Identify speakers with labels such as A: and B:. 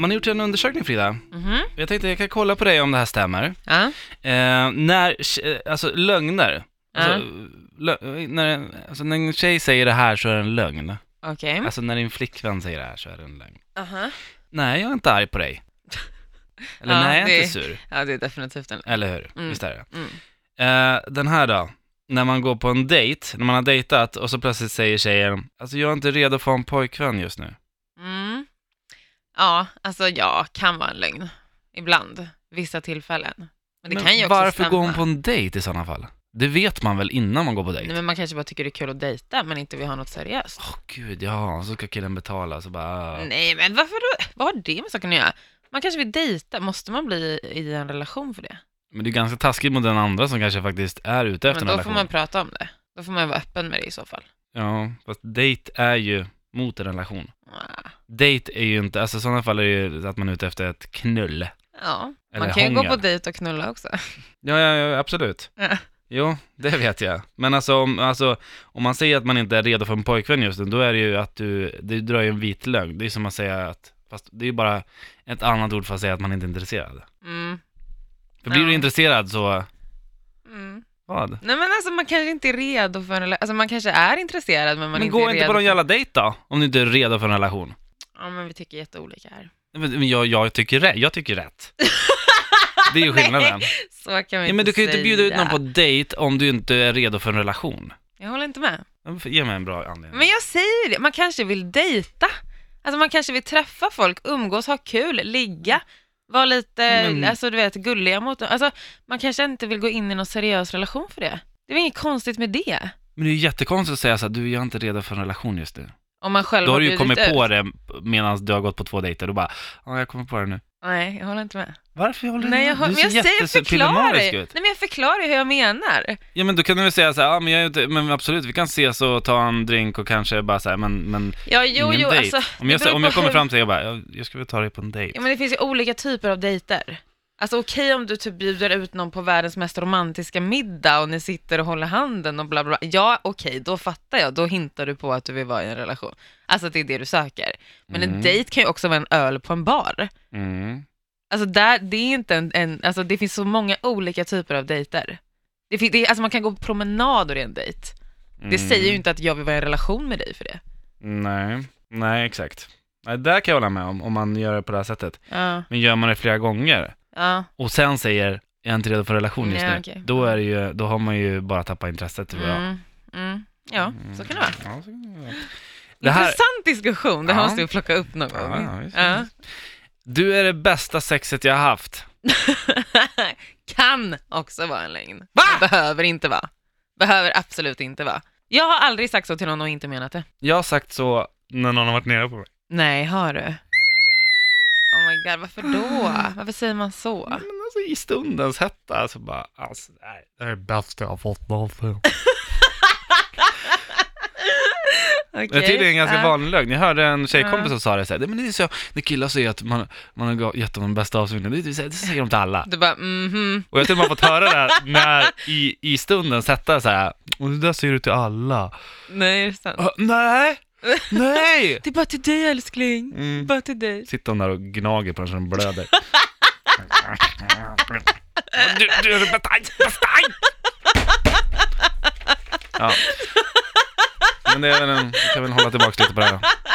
A: Man har gjort en undersökning Frida. Jag tänkte jag kan kolla på dig om det här stämmer.
B: Ja.
A: Eh, när, eh, alltså lögner. Alltså, lö- när, alltså när en tjej säger det här så är det en
B: Mm.
A: lögn.
B: Okej.
A: Alltså när din flickvän säger det här så är det en lögn.
B: Aha.
A: Nej, jag är inte arg på dig. Eller
B: Ja,
A: nej, jag är
B: det-
A: inte sur.
B: Ja, det är definitivt en
A: Eller hur?
B: Mm.
A: Visst är det.
B: Mm.
A: Eh, den här då. När man går på en dejt, när man har dejtat och så plötsligt säger tjejen, alltså jag är inte redo för en pojkvän just nu.
B: mm. Ja, alltså ja, kan vara en lögn. Ibland. Vissa tillfällen. Men det kan ju också
A: varför
B: stämma.
A: går hon på en dejt i sådana fall? Det vet man väl innan man går på dejt?
B: Nej, men man kanske bara tycker det är kul att dejta men inte vill ha något seriöst.
A: Åh gud, ja, så ska killen betala så bara... ah.
B: Nej, men varför då? Vad har det med saken att göra? Man kanske vill dejta, måste man bli i en relation för det?
A: Men det är ganska taskigt mot den andra som kanske faktiskt är ute efter
B: Men
A: en
B: då får
A: relation.
B: man prata om det. Då får man vara öppen med det i så fall.
A: Ja, fast dejt är ju mot en relation.
B: Ah.
A: Dejt är ju inte, alltså i sådana fall är det ju att man är ute efter ett knull.
B: Ja,
A: Eller
B: man kan ju gå
A: hångel.
B: på dejt och knulla också.
A: Ja, ja, ja absolut.
B: Ja.
A: Jo, det vet jag. Men alltså om, alltså, om man säger att man inte är redo för en pojkvän just nu, då är det ju att du, du drar ju en vit lögn. Det är som att säga att, fast det är ju bara ett annat ord för att säga att man inte är intresserad.
B: Mm.
A: För blir
B: Ja.
A: du intresserad så,
B: Mm.
A: vad?
B: Nej men alltså man kanske inte är redo för en relation, alltså man kanske är intresserad men man
A: Men
B: inte är
A: gå inte
B: redo.
A: på någon jävla dejt då, om du inte är redo för en relation.
B: Ja men vi tycker jätteolika här.
A: Men men jag, jag, tycker, rä- jag tycker rätt. Det är ju skillnaden.
B: Så kan vi
A: ja, men du kan ju inte bjuda ut
B: säga.
A: någon på dejt om du inte är redo för en relation.
B: Jag håller inte med.
A: Ja, men för- Ge mig en bra anledning.
B: Men jag säger det, man kanske vill dejta. Alltså man kanske vill träffa folk, umgås, ha kul, ligga, vara lite,
A: Men-
B: alltså du vet, gulliga mot dem. Alltså man kanske inte vill gå in i någon seriös relation för det. Det är väl inget konstigt med det?
A: Men det är ju jättekonstigt att säga så här, du jag är inte redo för en relation just nu.
B: Om man själv
A: Då har du ju
B: bjudit
A: kommit
B: ut.
A: på det medan du har gått på två dejter och bara, ja jag kommer på det nu.
B: Nej, jag håller inte med.
A: Varför håller du
B: Nej,
A: med?
B: jag, hör,
A: Du
B: men jag säger
A: jättes-
B: förklara
A: pillemarisk
B: ju. Nej
A: ut.
B: men jag förklarar ju hur jag menar.
A: Ja men då kan du väl säga så här, ja men, jag är inte, men absolut vi kan ses och ta en drink och kanske bara så här, men, men
B: Ja, jo,
A: ingen
B: jo,
A: dejt.
B: alltså.
A: om,
B: det
A: jag,
B: beror
A: om jag
B: på
A: kommer
B: hur-
A: fram till dig och bara, jag, jag skulle vilja ta dig på en dejt.
B: Ja, men det finns ju olika typer av dejter. Alltså okej om du typ bjuder ut någon på världens mest romantiska middag och ni sitter och håller handen och bla bla. bla. Ja, okej, då fattar jag. Då hintar du på att du vill vara i en relation. Alltså att det är det du söker. Men
A: Mm.
B: en dejt kan ju också vara en öl på en bar.
A: Mm.
B: Alltså där, det är inte en, en alltså det finns så många olika typer av dejter. Det fin- det, är- alltså man kan gå på promenader i en dejt. Det
A: Mm.
B: säger ju inte att jag vill vara i en relation med dig för det.
A: Nej, nej exakt. Nej, där kan jag hålla med om, om man gör det på det här sättet.
B: Ja,
A: Men gör man det flera gånger
B: ja.
A: och sen säger jag är inte redo för en relation just
B: Ja,
A: nu,
B: okej.
A: då, är det ju, då har man ju bara tappat intresset tror jag.
B: Mm. Mm. Ja, så kan det vara.
A: Ja, så kan det vara. Det här,
B: Intressant diskussion, det här
A: Ja.
B: måste vi plocka upp någon gång.
A: Ja, ja, visst.
B: Ja.
A: du är det bästa sexet jag har haft.
B: kan också vara en lögn. Va? Behöver inte vara. Behöver absolut inte vara. Jag har aldrig sagt så till någon och inte menat det.
A: Jag har sagt så när någon har varit nere på mig.
B: Nej, har du? Oh my god, varför då? Varför säger man så?
A: Men alltså i stundens hetta så bara, alltså nej, det här är det bästa jag har fått någonsin.
B: Okay.
A: Det är tydligen en ganska vanlig lögn. Jag hörde en tjejkompis som sa det såhär, men det är så, när killar säger att man, man har gett dem de bästa avslutningarna, det, är så här, det säger de till alla.
B: Du bara, mhm.
A: Och jag tror man fått höra det här när, i, i stunden sätta så här. och det där säger du till alla.
B: Nej, är det sant?
A: Ö, nej, nej!
B: Det är bara till dig älskling.
A: Mm.
B: Bara till dig.
A: Sitter hon där och gnager på den så den blöder. du, du är det bästa, bästa! Ja. Men det är väl en, jag kan väl hålla tillbaka lite på det här.